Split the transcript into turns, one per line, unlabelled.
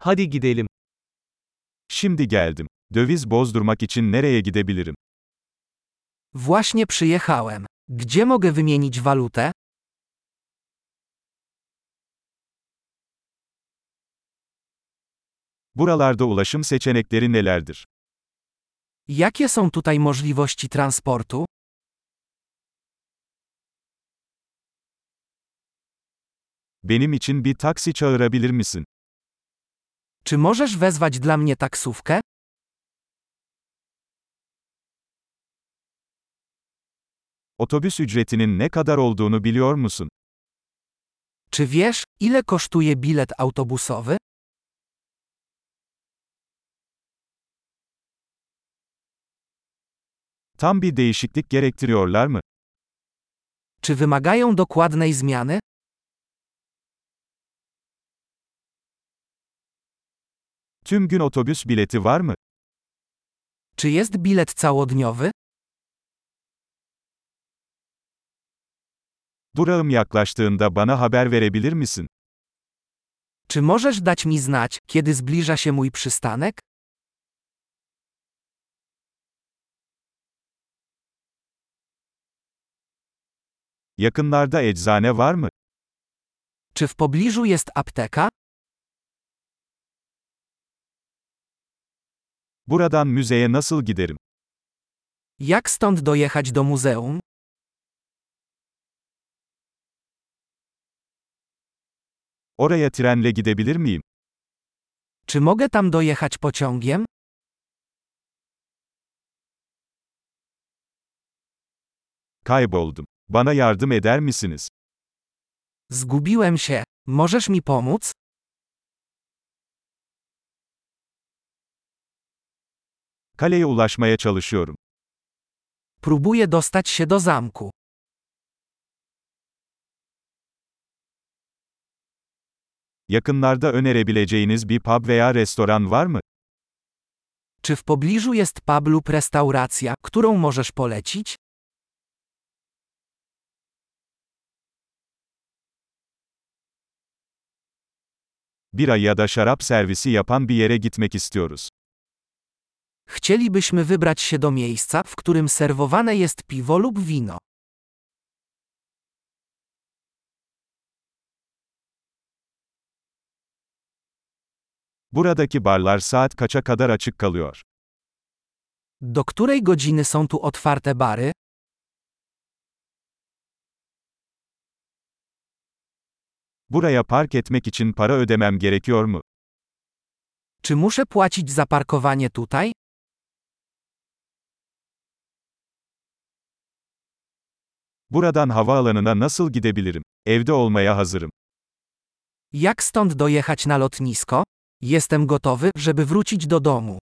Hadi gidelim.
Şimdi geldim. Döviz bozdurmak için nereye gidebilirim?
Właśnie przyjechałem. Gdzie mogę wymienić walutę?
Buralarda ulaşım seçenekleri nelerdir?
Jakie są tutaj możliwości transportu?
Benim için bir taksi çağırabilir misin?
Czy możesz wezwać dla mnie taksówkę?
Otobüs ücretinin ne kadar olduğunu biliyor musun?
Czy wiesz, ile kosztuje bilet autobusowy?
Tam bir değişiklik gerektiriyorlar mı?
Czy wymagają dokładnej zmiany?
Tüm gün otobüs bileti var mı?
Czy jest bilet całodniowy?
Durağım yaklaştığında bana haber verebilir misin?
Czy możesz dać mi znać, kiedy zbliża się mój przystanek?
Yakınlarda eczane var mı?
Czy w pobliżu jest apteka?
Buradan müzeye nasıl giderim?
Jak stąd dojechać do muzeum?
Oraya trenle gidebilir miyim?
Czy mogę tam dojechać pociągiem?
Kayboldum. Bana yardım eder misiniz?
Zgubiłem się. Możesz mi pomóc?
Kaleye ulaşmaya çalışıyorum.
Próbuję dostać się do zamku.
Yakınlarda önerebileceğiniz bir pub veya restoran var mı?
Czy w pobliżu jest pub lub restauracja, którą możesz polecić?
Bira ya da şarap servisi yapan bir yere gitmek istiyoruz.
Chcielibyśmy wybrać się do miejsca, w którym serwowane jest piwo lub wino.
Buradaki barlar saat kaça kadar açık kalıyor?
Do której godziny są tu otwarte bary?
Buraya park etmek için para ödemem gerekiyor mu?
Czy muszę płacić za parkowanie tutaj?
Buradan havaalanına nasıl gidebilirim? Evde olmaya hazırım.
Jak stąd dojechać na lotnisko? Jestem gotowy, żeby wrócić do domu.